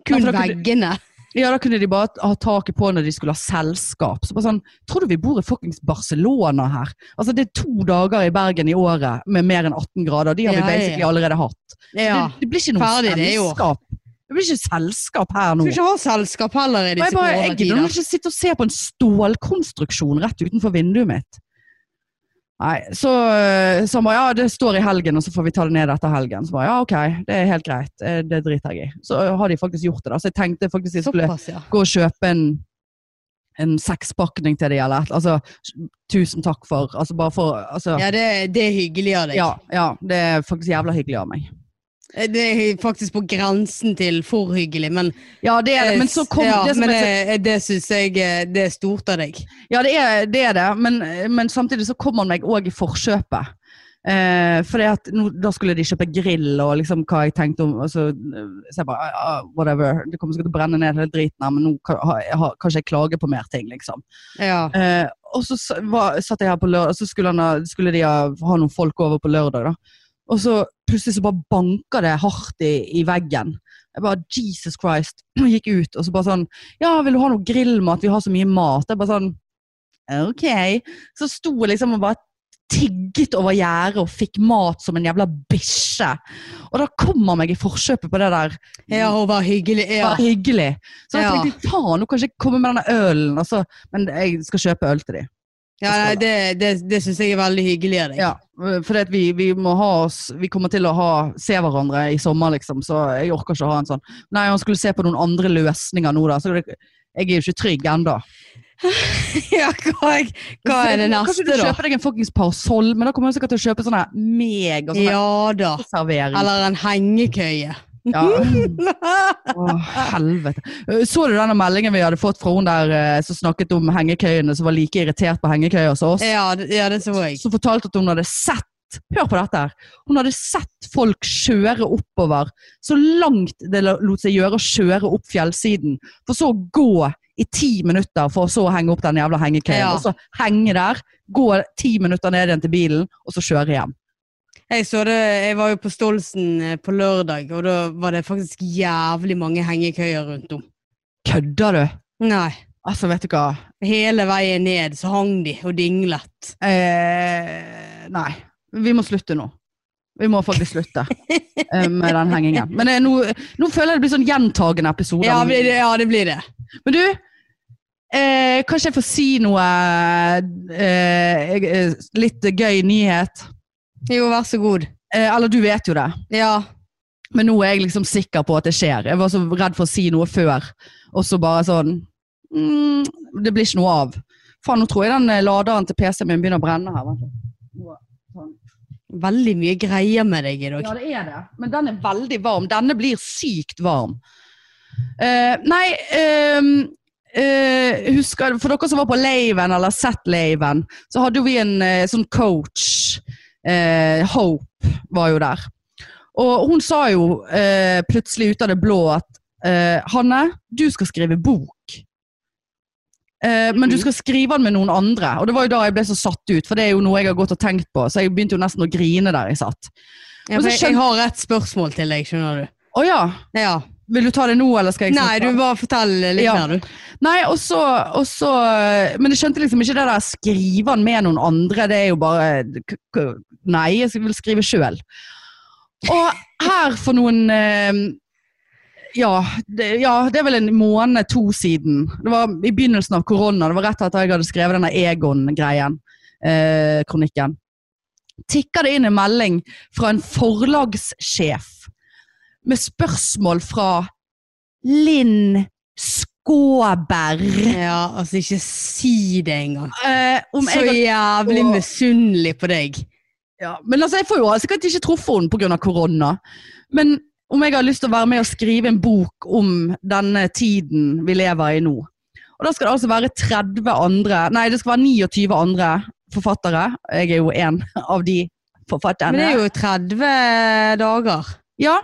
Kun
Nei, for da kunne-
veggene?
ja, da kunne de bare ha taket på når de skulle ha selskap. Så bare sånn, Tror du vi bor i fuckings Barcelona her? Altså, Det er to dager i Bergen i året med mer enn 18 grader. De har
Ja,
vi
ja, ja.
basically allerede hatt.
Ja.
Det, det blir ikke noe
Ferdig det i år.
selskap. Det blir ikke selskap her nå.
Skal ikke ha selskap heller i
Og jeg
disse
bare, jeg gidder
koronatider.
ikke sitte og se på en stålkonstruksjon rett utenfor vinduet mitt. Nei, så, eh, så han bare, ja, det står i helgen, og så får vi ta det ned etter helgen. Så bare, ja, ok, det er helt greit. Eh, Det driter jeg i. Så har de faktisk gjort det, da. Så jeg tenkte faktisk jeg skulle
Såpass, ja.
gå og kjøpe en, en sekspakning til de, eller et- altså, tusen takk for, altså bare for, altså,
Ja, det, det er hyggelig av deg. Eh,
ja, ja, det er faktisk jævla hyggelig av meg.
Det er faktisk på grensen til for hyggelig, men eh,
Ja, det er det, men så kom
ja,
det som
men
er så-
det, det syns jeg eh, det er stort av deg.
ja, det er det, er det men, men samtidig så kom han meg også i forkjøpet. Eh, fordi at nå, da skulle de kjøpe grill og liksom hva jeg tenkte om, og så, eh, så jeg bare, ah, ah, whatever, det kommer sikkert til å brenne ned hele driten her, men nå kan, har, har, kan ikke jeg klage på mer ting, liksom.
Ja.
Eh, og så sa- var, satt jeg her på lørdag, og så skulle, han, ha- skulle de ha, ha noen folk over på lørdag. da. Og så plutselig så bare banker det hardt i, i veggen. Jeg bare, Jesus Christ. Og gikk ut, og så bare sånn Ja, vil du ha noe grillmat? Vi har så mye mat. Jeg bare sånn Ok. Så sto jeg liksom og bare tigget over gjerdet og fikk mat som en jævla bikkje. Og da kommer meg i forkjøpet på det der
Ja, og var hyggelig. Ja.
var hyggelig. Så jeg
Ja.
tenkte faen, nå kan jeg ikke komme med denne ølen. og så- men jeg skal kjøpe øl til dem.
Ja, nei, det, det, det syns jeg er veldig hyggelig av deg.
Ja, for at vi, vi må ha oss Vi kommer til å ha, se hverandre i sommer, liksom, så jeg orker ikke å ha en sånn. Nei, han skulle se på noen andre løsninger nå, da. Så det, jeg er jo ikke trygg ennå.
Ja, hva, er- hva er det
Kanskje
neste,
du
da?
kjøper deg en fuckings parasoll, men da kommer jeg sikkert til å kjøpe sånne mega sånne
Ja da.
servering.
Eller en hengekøye.
Ja. Å, helvete. Eh, Så du denne meldingen vi hadde fått fra hun der eh, som snakket om hengekøyene, som var like irritert på hengekøyer som oss?
Ja, det- ja, det så jeg.
som fortalte at hun hadde sett Hør på dette her. Hun hadde sett folk kjøre oppover så langt det la- lot seg gjøre å kjøre opp fjellsiden. For så å gå i ti minutter for så å henge opp den jævla hengekøyen.
Ja.
Og så henge der, gå ti minutter ned igjen til bilen, og så kjøre hjem.
Jeg så det, jeg var jo på Stolsen eh, på lørdag, og da var det faktisk jævlig mange hengekøyer rundt om.
Kødder du?
Nei.
Altså, vet du hva?
Hele veien ned så hang de og dinglet.
Eh, nei. Vi må slutte nå. Vi må faktisk slutte eh, med den hengingen. Men eh, nå, nå føler jeg det blir sånn gjentagende episoder.
Ja, det- ja, det blir det.
Men du, eh, kanskje jeg får si noe eh, eh, litt gøy nyhet?
Jo, vær så god.
Eh, eller du vet jo det,
Ja.
men nå er jeg liksom sikker på at det skjer. Jeg var så redd for å si noe før, og så bare sånn mm, Det blir ikke noe av. Faen, nå tror jeg den eh, laderen til PC-en min begynner å brenne her. Vent litt. sånn. Nå-
Veldig mye greier med deg i dag.
Ja, det er det. Men den er veldig varm. Denne blir sykt varm. Eh, nei ehm, eh, husker, For dere som var på Laven, eller sett Laven, så hadde vi en eh, sånn coach. Eh, Hope var jo der. Og hun sa jo eh, plutselig ut av det blå at eh, Hanne, du skal skrive bok. Eh, men du skal skrive den med noen andre. Og det var jo da jeg ble så satt ut, for det er jo noe jeg har gått og tenkt på. Så jeg begynte jo nesten å grine der jeg satt.
Ja,
Og
for
så
jeg, jeg har et spørsmål til deg, skjønner du.
Å ja.
Ja.
Vil du ta det nå, eller skal jeg
Nei, du bare fortell litt
Ja.
mer, du.
Nei, og så, og så Men jeg skjønte liksom ikke det der skrive den med noen andre. Det er jo bare k- k- Nei, jeg vil skrive sjøl. Og her for noen eh, ja det, ja, det er vel en måned, to siden. Det var i begynnelsen av korona. Det var rett etter jeg hadde skrevet denne Egon-greien. Eh, kronikken. Tikker det inn en melding fra en forlagssjef med spørsmål fra Linn Skåberg.
Ja, altså, ikke si det engang.
Eh, om
Så
jeg,
jævlig
Og-
misunnelig på deg.
ja. Men altså, jeg får jo sikkert ikke truffet henne pga. korona. Men om jeg har lyst til å være med og skrive en bok om denne tiden vi lever i nå. Og da skal det altså være 30 andre Nei, det skal være 29 andre forfattere. Jeg er jo en av de forfatterne.
Men det er jo 30 dager.
Ja.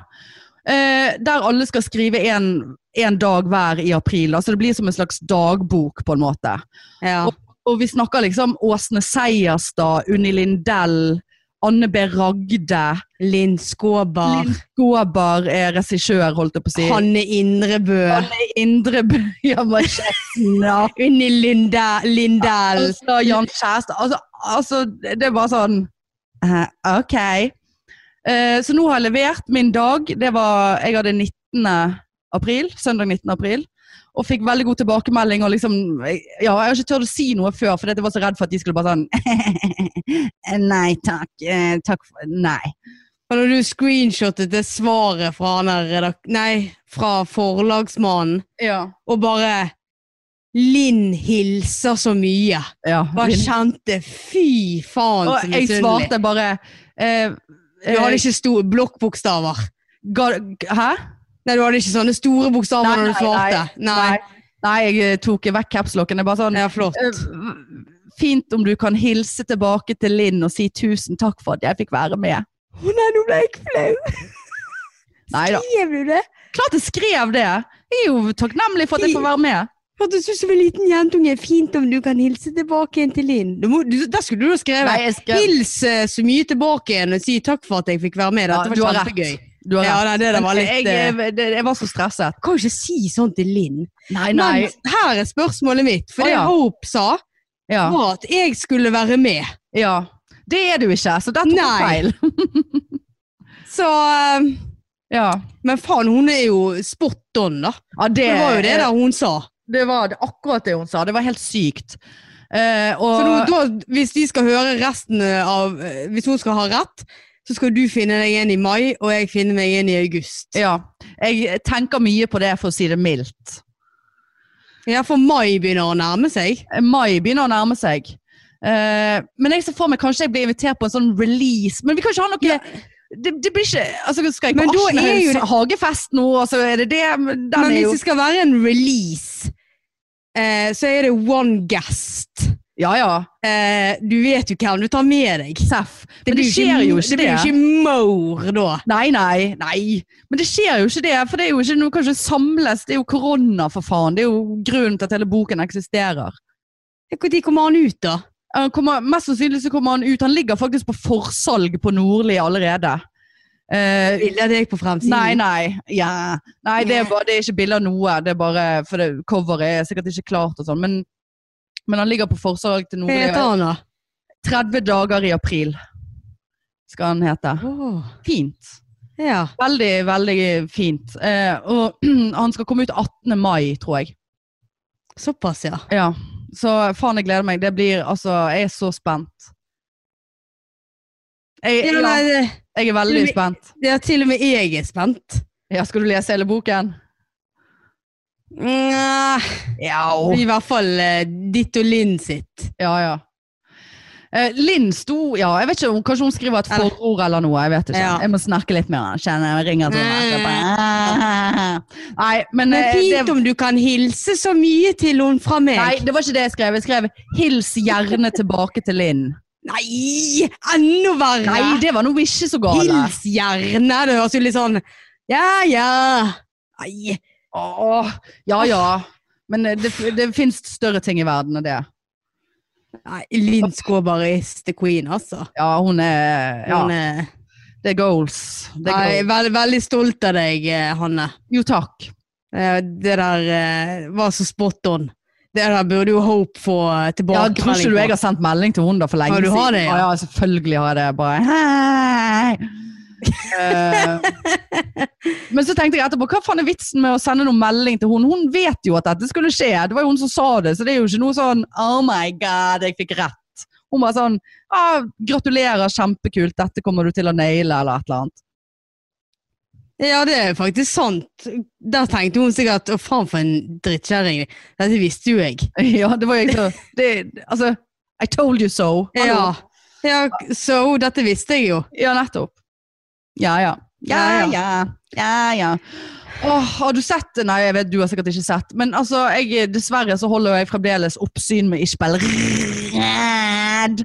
Eh, der alle skal skrive én dag hver i april. da. Så det blir som en slags dagbok, på en måte.
Ja.
Og vi snakker liksom Åsne Seierstad, Unni Lindell, Anne B. Ragde.
Linn Skåber.
Linn Skåber er regissør, holdt jeg på å si.
Hanne Indrebø.
Hanne Indre Bøyamarsjessen. Ja.
Unni Linda, Lindell.
Altså, Jan Kjærstad. Altså, altså, det er bare sånn eh, Ok. Eh, så nå har jeg levert min dag. Det var Jeg hadde 19. april. Søndag 19. april. Og fikk veldig god tilbakemelding. og liksom, jeg- ja, Jeg har ikke turt å si noe før, for jeg var så redd for at de skulle bare sånn Nei takk. eh, takk for, nei.
Og når du screenshottet det svaret fra han der redak- Nei, fra forlagsmannen,
Ja.
og bare Linn hilser så mye.
ja.
Bare kjente Fy faen, så
Og jeg
misunnelig.
svarte bare eh,
Du hadde
eh,
ikke store blokkbokstaver.
ga- Hæ?
Nei, du hadde ikke sånne store bokstaver
Nei,
når du
nei,
svarte. Nei.
Nei, jeg eh, tok vekk capslocken. Jeg bare sånn
Ja, flott.
Eh, Fint om du kan hilse tilbake til Linn og si tusen takk for at jeg fikk være med.
Å nei, nå ble jeg flau.
Nei da.
Skrev du det?
Klart jeg skrev det! Jeg er jo takknemlig for at jeg får være med.
Hørtes ut som en liten jentunge. Fint om du kan hilse tilbake igjen til Linn. Du må- du- Der skulle du ha skrevet.
Nei, jeg skrev-
Hils eh, så mye tilbake igjen og si takk for at jeg fikk være med.
Ja,
Dette
du har
var
rett.
kjempegøy.
Du har
Ja,
rett.
nei, det der var litt
jeg,
eh,
eh, det- jeg var så stresset.
Kan jo ikke si sånn til Linn.
Nei,
Men her er spørsmålet mitt. For
Å,
det
ja.
Hope sa,
Ja.
var at jeg skulle være med.
ja. Det er du ikke, så der tok du
Nei.
feil.
Så eh,
Ja.
Men faen, hun er jo spot on, da.
Ja,
Det var jo det der hun sa.
Det var det- akkurat det hun sa. Det var helt sykt. Eh, og,
Så nå, da, hvis de skal høre resten av eh, Hvis hun skal ha rett, så skal du finne deg en i mai, og jeg finner meg en i august.
ja, jeg tenker mye på det, for å si det mildt.
Ja, for mai begynner å nærme seg.
Mai begynner å nærme seg. Eh, men jeg ser for meg kanskje jeg blir invitert på en sånn release. Men vi kan ikke ha noe det, det blir ikke altså Skal jeg
Men
på
da er
Aschenhaugs
jo det-
hagefest nå, og så er det det? Men Den
Men
er
hvis
jo
det skal være en release, eh, så er det one guest.
Ja ja,
Eh, du vet jo hvem du tar med deg.
seff. Men det
blir
skjer jo ikke
det. blir
det.
jo ikke Moore da.
Nei, nei, nei. Men det skjer jo ikke det. For det er jo ikke noe kanskje samles. Det er jo korona, for faen. Det er jo grunnen til at hele boken eksisterer.
Når kommer han ut, da?
Han Eh, kommer, mest sannsynlig så kommer han ut. Han ligger faktisk på forsalg på Nordli allerede. Eh,
Bildet av deg på fremsiden.
Nei, nei. Ja. Nei, det er, bare, det er ikke bilde av noe. Det er bare, for det, Coveret er sikkert ikke klart og sånn. Men, men han ligger på forsalg til
Hva
Nordli.
heter han, da?
30 dager i april skal han hete.
Åh,
Fint.
ja.
Veldig, veldig fint. Eh, og han skal komme ut 18. mai, tror jeg.
Såpass, ja.
Ja. Så faen, jeg gleder meg. Det blir altså Jeg er så spent. Jeg,
ja nei,
ja,
det,
jeg er veldig spent.
det er til og med jeg er spent.
Ja, skal du lese hele boken?
Nja,
Ja.
I hvert fall eh, ditt og Linn sitt.
Ja, ja. Eh, Linn sto Ja, jeg vet ikke, om- kanskje hun skriver et
Eller-
forord eller noe. Jeg vet ikke.
Ja. Mm.
Jeg må snakke litt med henne. Kjenne, jeg ringer til henne. etterpå. Nei, men
Men
eh,
fint
det,
om du kan hilse så mye til henne fra meg.
nei, det var ikke det jeg skrev. Jeg skrev 'Hils gjerne tilbake til Linn'.
Nei, enda verre!
Nei, det var nå ikke så gale.
Hils gjerne! Det høres jo litt sånn Ja, ja. Nei.
Åh, ja ja. Men eh, det, det fins større ting i verden enn det.
Nei, Linn Skåber is the queen, altså. eh,
Ja, hun er ja,
Hun er-
Det er goals. Det
Nei, jeg
er
er
goals.
veld, veldig stolt av deg, eh, Hanne.
Jo, takk.
Eh, Det der eh, var så spot on. Det der burde jo Hope få eh,
Ja,
tilbake.
tror ikke du jeg har sendt melding til henne da for lenge
Ja, du har det,
siden?
ja.
ja. ja, selvfølgelig har jeg det. Bare hei! Eh, men så tenkte jeg etterpå, hva faen er vitsen med å sende noen melding til henne? Hun vet jo at dette skulle skje. Det var jo hun som sa det, så det er jo ikke noe sånn Oh my God, jeg fikk rett. Hun bare sånn ah, Gratulerer, kjempekult, dette kommer du til å naile, eller et eller annet.
Ja, det er faktisk sant. Der tenkte hun sikkert Å, faen for en drittkjerring. Dette visste jo jeg.
Ja, det var jo ikke så det, Altså, I told you so. Hallo.
Ja. ja, så dette visste jeg jo.
Ja, nettopp. Ja, ja.
Ja,
ja. ja, ja. Åh, har du sett det? Nei, jeg vet du har sikkert ikke sett. Men altså, jeg, dessverre så holder jeg fremdeles oppsyn med Ishbel Red.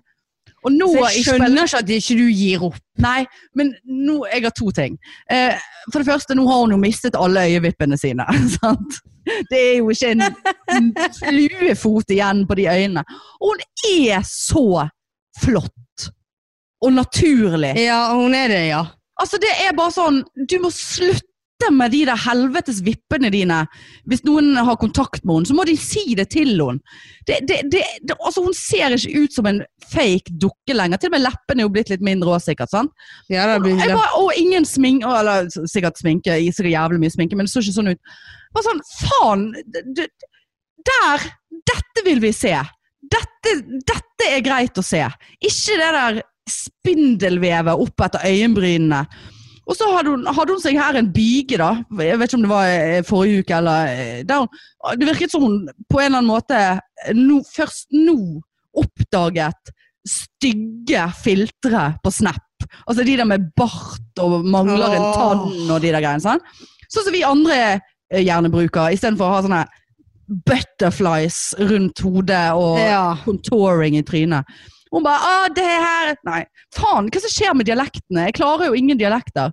Og nå
Så
har
jeg
Ishbel
skjønner ikke at ikke du gir opp.
Nei, men nå, jeg har to ting. Eh, for det første, nå har hun jo mistet alle øyevippene sine. sant? Det er jo ikke en en fluefot igjen på de øynene. Og hun er så flott og naturlig.
Ja, hun er det, ja.
Altså, det er bare sånn Du må slutte med de der helvetes vippene dine. Hvis noen har kontakt med henne, så må de si det til henne. Det, det, det, det, altså, hun ser ikke ut som en fake dukke lenger. Til og med leppene er jo blitt litt mindre òg, sikkert. sant?
Ja, da blir
Jeg
det.
bare, og ingen sminke Eller s- sikkert sminke, i- sikkert jævlig mye sminke, men det så ikke sånn ut. Bare sånn, faen! d- d- Der! Dette vil vi se! Dette, dette er greit å se! Ikke det der spindelvevet opp etter øyenbrynene. Og så hadde hun, hadde hun seg her en byge, da. Jeg vet ikke om det var eh, forrige uke eller eh, der hun, Det virket som hun på en eller annen måte eh, nå- først nå oppdaget stygge filtre på Snap. Altså de der med bart og mangler en
Åh.
tann og de der greiene. Sånn Sånn som vi andre eh, gjerne bruker, istedenfor å ha sånne butterflies rundt hodet og
Ja.
contouring i trynet. Hun bare 'Å, det her Nei, faen, hva som skjer med dialektene? Jeg klarer jo ingen dialekter.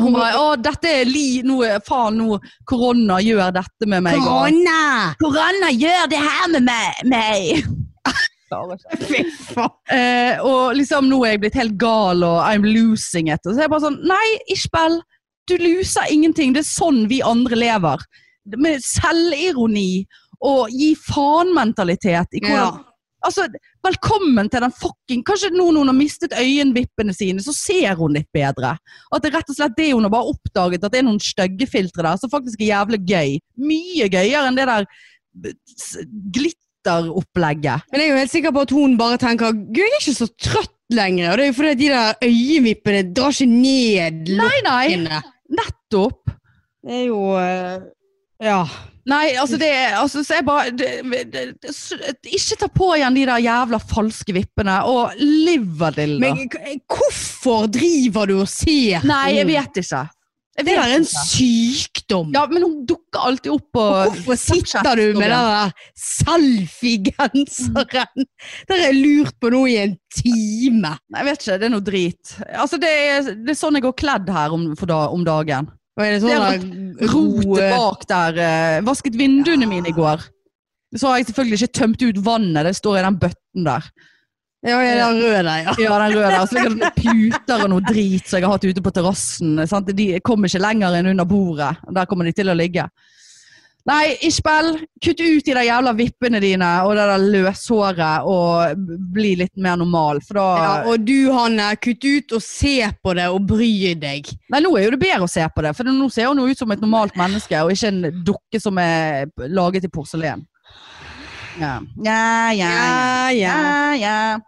Hun bare 'Å, dette er li... Nå, er- faen, nå Korona gjør dette med meg.' og-
Korona!
Korona gjør det her med meg! meg. Klarer ikke.
Fy faen.
Eh, og liksom nå er jeg blitt helt gal, og I'm losing it. Og så er jeg bare sånn Nei, Ishbel, du loser ingenting. Det er sånn vi andre lever. Med selvironi og gi faen-mentalitet i hvordan
Ja.
Altså, velkommen til den fucking Kanskje nå når hun har mistet øyenvippene sine, så ser hun litt bedre. At det er rett og slett det hun har bare oppdaget, at det er noen stygge filtre der som faktisk er jævlig gøy. Mye gøyere enn det der b- s- glitteropplegget.
Men jeg er jo helt sikker på at hun bare tenker Gud, jeg er ikke så trøtt lenger. Og det er jo fordi at de der øyevippene drar ikke ned
Nei, nei,
lokkene.
nettopp.
Det er jo eh, Ja.
Nei, altså det er altså, Så jeg bare det, det, det, s- Ikke ta på igjen de der jævla falske vippene, og liverdilla.
Men k- hvorfor driver du og ser
Nei, jeg
henne?
vet ikke. Jeg
Det
vet
der er en
ikke.
sykdom.
Ja, men hun dukker alltid opp på
Hvorfor sitter du med den der selfie-genseren? Der har jeg lurt på noe i en time.
Nei, Jeg vet ikke, det er noe drit. Altså, det er, det er sånn jeg går kledd her om, for da, om dagen.
Og er det
Det er
sånn der
Rotet bak der. eh, vasket vinduene
Ja.
mine i går. Så har jeg selvfølgelig ikke tømt ut vannet, det står i den bøtten der.
Ja, ja, den røde der, ja.
Ja, den røde der. Og Så ligger det noen puter og noe drit som jeg har hatt ute på terrassen. sant? De kommer ikke lenger enn under bordet. Der kommer de til å ligge. Nei, Ishbel, kutt ut de der jævla vippene dine og det der løshåret og bli litt mer normal, for da
ja. Og du, Hanne, kutt ut og se på det og bry deg.
Nei, nå er jo det bedre å se på det, for nå ser hun jo ut som et normalt menneske, og ikke en dukke som er laget i porselen. Ja, ja, ja.
Ja,
ja.
ja.
ja.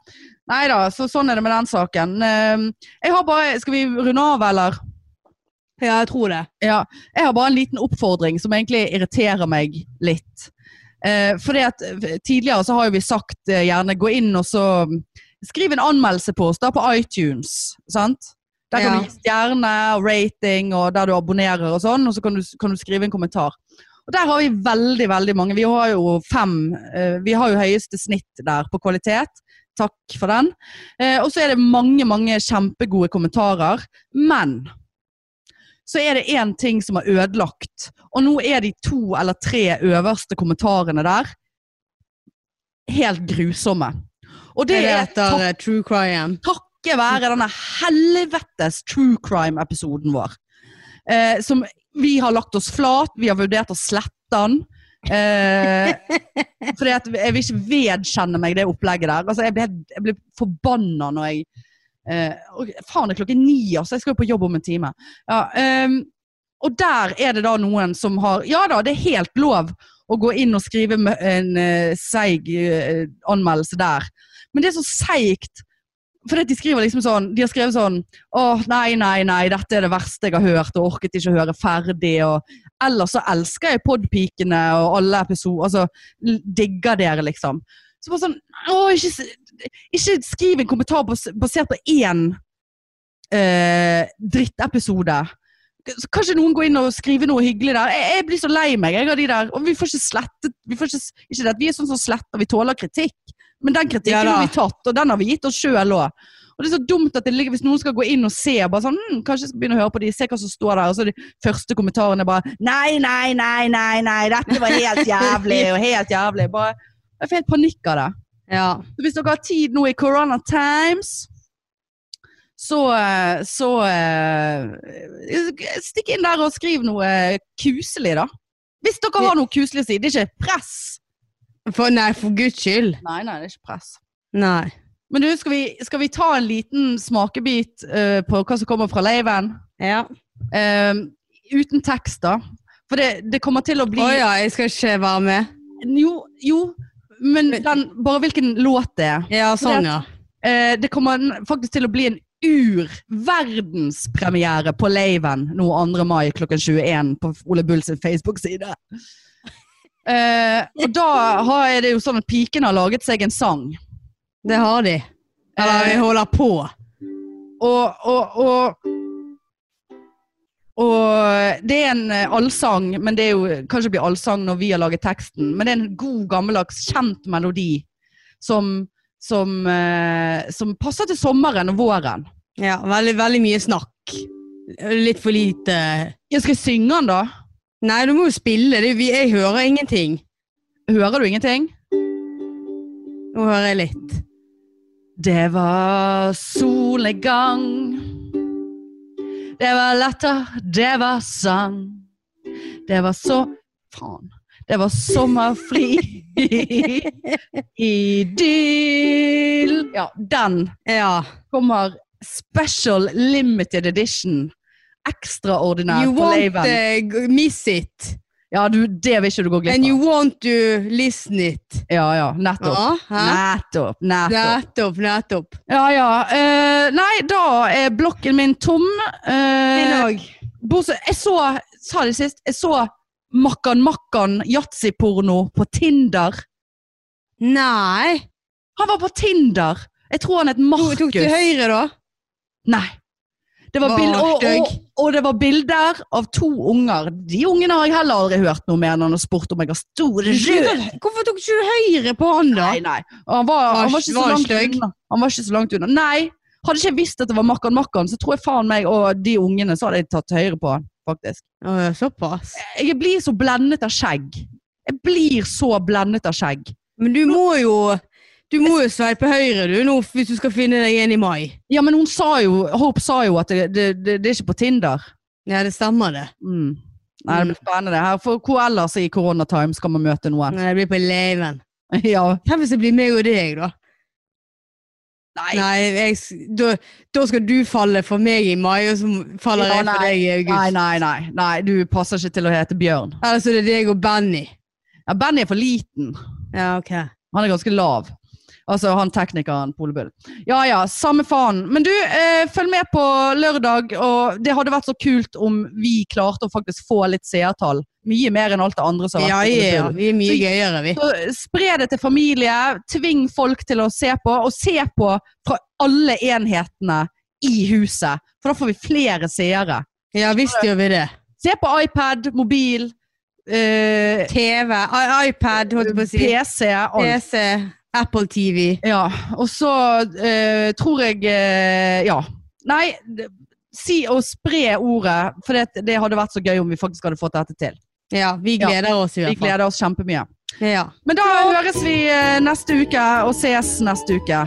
Nei da, så sånn er det med den saken. Ehm, Jeg har bare, Skal vi runde av, eller?
Ja, jeg tror det.
Ja, jeg har bare en liten oppfordring som egentlig irriterer meg litt. Eh, fordi at eh, Tidligere så har jo vi sagt eh, gjerne gå inn og så mm, skriv en anmeldelse på oss da på iTunes. sant? Der kan
Ja.
du gi stjerne og rating og der du abonnerer og sånn, og så kan du, kan du skrive en kommentar. Og Der har vi veldig veldig mange. Vi har jo fem. eh, Vi har jo høyeste snitt der på kvalitet. Takk for den. Eh, Og så er det mange, mange kjempegode kommentarer. Men så er det én ting som er ødelagt. Og nå er de to eller tre øverste kommentarene der helt grusomme. Og det
er det
er
etter eh, True Crime.
takket være denne helvetes true crime-episoden vår. Eh, som vi har lagt oss flat, vi har vurdert å slette den. Eh, fordi at jeg vil ikke vedkjenne meg det opplegget der. Altså, jeg ble, jeg ble forbanna når jeg eh, og Faen, det er klokken ni, altså. Jeg skal jo på jobb om en time. Ja, ehm, og der er det da noen som har Ja da, det er helt lov å gå inn og skrive med en eh, seig eh, anmeldelse der. Men det er så seigt. For de skriver liksom sånn De har skrevet sånn Åh, nei, nei, nei, dette er det verste jeg har hørt, og orket ikke høre ferdig, og Ellers så elsker jeg podpikene og alle episoder Altså, l- digger dere, liksom. Så bare sånn Åh, ikke, s- ikke skriv en kommentar bas- basert på én eh, drittepisode. Så kanskje noen går inn og skriver noe hyggelig der. Jeg, jeg blir så lei meg jeg, av de der. Og vi får ikke slettet vi, får ikke, s- ikke det, at vi er sånn som sletter, vi tåler kritikk. Men den
Ja
kritikken
da.
har vi tatt, og den har vi gitt oss sjøl òg. Og det er så dumt at det ligger, Hvis noen skal gå inn og se bare sånn, hm, Kanskje jeg skal begynne å høre på de, se hva som står der. Og så er de første kommentarene bare Nei, nei, nei, nei, nei, dette var helt jævlig og helt jævlig. Bare, jeg får helt panikk av det.
Ja.
Så hvis dere har tid nå i Corona Times, så, eh, så eh, Stikk inn der og skriv noe eh, kuselig, da. Hvis dere har noe kuselig å si. Det er ikke press.
For, nei, for guds skyld.
Nei, nei, det er ikke press.
Nei.
Men du, skal vi, skal vi ta en liten smakebit eh, på hva som kommer fra laven?
Ja.
Eh, uten tekst, da. For det, det kommer til å bli
Å ja, jeg skal ikke være med.
Jo, jo. Men den, bare hvilken låt det er.
Ja, sånn, ja.
Eh, det kommer n- faktisk til å bli en ur-verdenspremiere på Laven nå 2. mai klokken 21 på Ole Bull sin Facebook-side. Eh, og da har, er det jo sånn at pikene har laget seg en sang.
Det har de. Eller vi holder på.
Og, og, og og det er en eh, allsang, men det er jo kanskje det blir allsang når vi har laget teksten. Men det er en god, gammeldags, kjent melodi som, som, eh, som passer til sommeren og våren.
Ja, veldig, veldig mye snakk. Litt for lite
Ja, skal jeg synge den, da?
Nei, du må jo spille. Det, er- vi- jeg hører ingenting.
Hører du ingenting?
Nå hører jeg litt.
Det var solnedgang. Det var latter, det var sang. Det var så Faen. Det var sommerfri. Idyll. Ja, den
Ja.
kommer special limited edition. Ekstraordinær
you
på
won't
laven.
eh, g- miss it.
Ja, du, det vil ikke du gå
And
glipp
you
av.
want to listen it.
Ja, ja. Nettopp.
Ja, hæ?
Nettopp. Nettopp.
Nettopp, nettopp.
Ja, ja. Eh, nei, da er blokken min tom. Eh,
I dag.
bortsett- jeg så, sa det sist, jeg så Makkan Makkan yatzyporno på Tinder.
Nei.
Han var på Tinder! Jeg tror han het
Tok
Markus.
tok du høyre, da?
Nei. Det var
Var
bild, og,
stygg.
og, og det var bilder av to unger. De ungene har jeg heller aldri hørt noe mer enn han har spurt om jeg har store røde
Hvorfor tok ikke du høyre på han, da?
Nei, nei. Og han var, han var, ikke så
Var
langt
stygg.
unna. han var ikke så langt unna. Nei! Hadde ikke jeg visst at det var Makkan Makkan, så tror jeg faen meg og de ungene så hadde jeg tatt høyre på han, faktisk.
Å, ja, såpass.
Jeg blir så blendet av skjegg. Jeg blir så blendet av skjegg.
Men du må jo du må jo sveipe høyre du nå hvis du skal finne deg en i mai.
Ja, men hun sa jo, Hope sa jo at det, det, det, det er ikke på Tinder.
Ja, det stemmer det.
Mm. Nei, det blir spennende her. For hvor ellers i koronatime skal man møte noen?
Nei, det blir på eleven.
Ja.
Hvem hvis det blir meg og deg, da?
Nei.
Nei, jeg, s- da, da skal du falle for meg i mai, og så faller
Ja,
jeg for
nei.
deg i august.
Nei, nei, nei, nei. Du passer ikke til å hete Bjørn.
Eller så er det deg og Benny.
Ja, Benny er for liten.
Ja, ok.
Han er ganske lav. Altså han teknikeren Polebull. Ja ja, samme faen. Men du, eh, følg med på lørdag. Og det hadde vært så kult om vi klarte å faktisk få litt seertall. Mye mer enn alt det andre som
Ja,
har
ja,
vært på
ja,
Polebull.
vi er mye
Så-
gøyere, vi.
Så spre det til familie. Tving folk til å se på. Og se på fra alle enhetene i huset. For da får vi flere seere.
Ja, visst gjør vi det.
Se på iPad, mobil, eh,
TV, i- iPad, holdt jeg på å si.
PC, alt.
PC, Apple TV.
Ja, og så eh, tror jeg eh, Ja. Nei, d- si og spre ordet, for det, det hadde vært så gøy om vi faktisk hadde fått dette til.
Ja, vi
Ja.
gleder oss i
Vi
hvert fall.
gleder oss kjempemye.
Ja.
Men da høres vi eh, neste uke, og ses neste uke.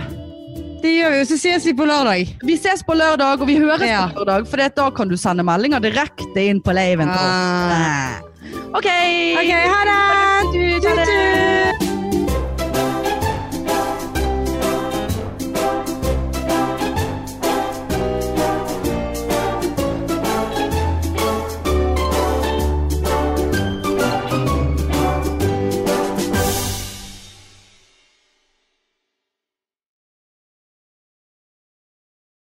Det gjør vi, og så ses vi på lørdag.
Vi ses på lørdag, og vi høres
Ja.
på lørdag, for det, da kan du sende meldinger direkte inn på laven.
Ah.
OK!
Ok, ha det!
Du, ta det.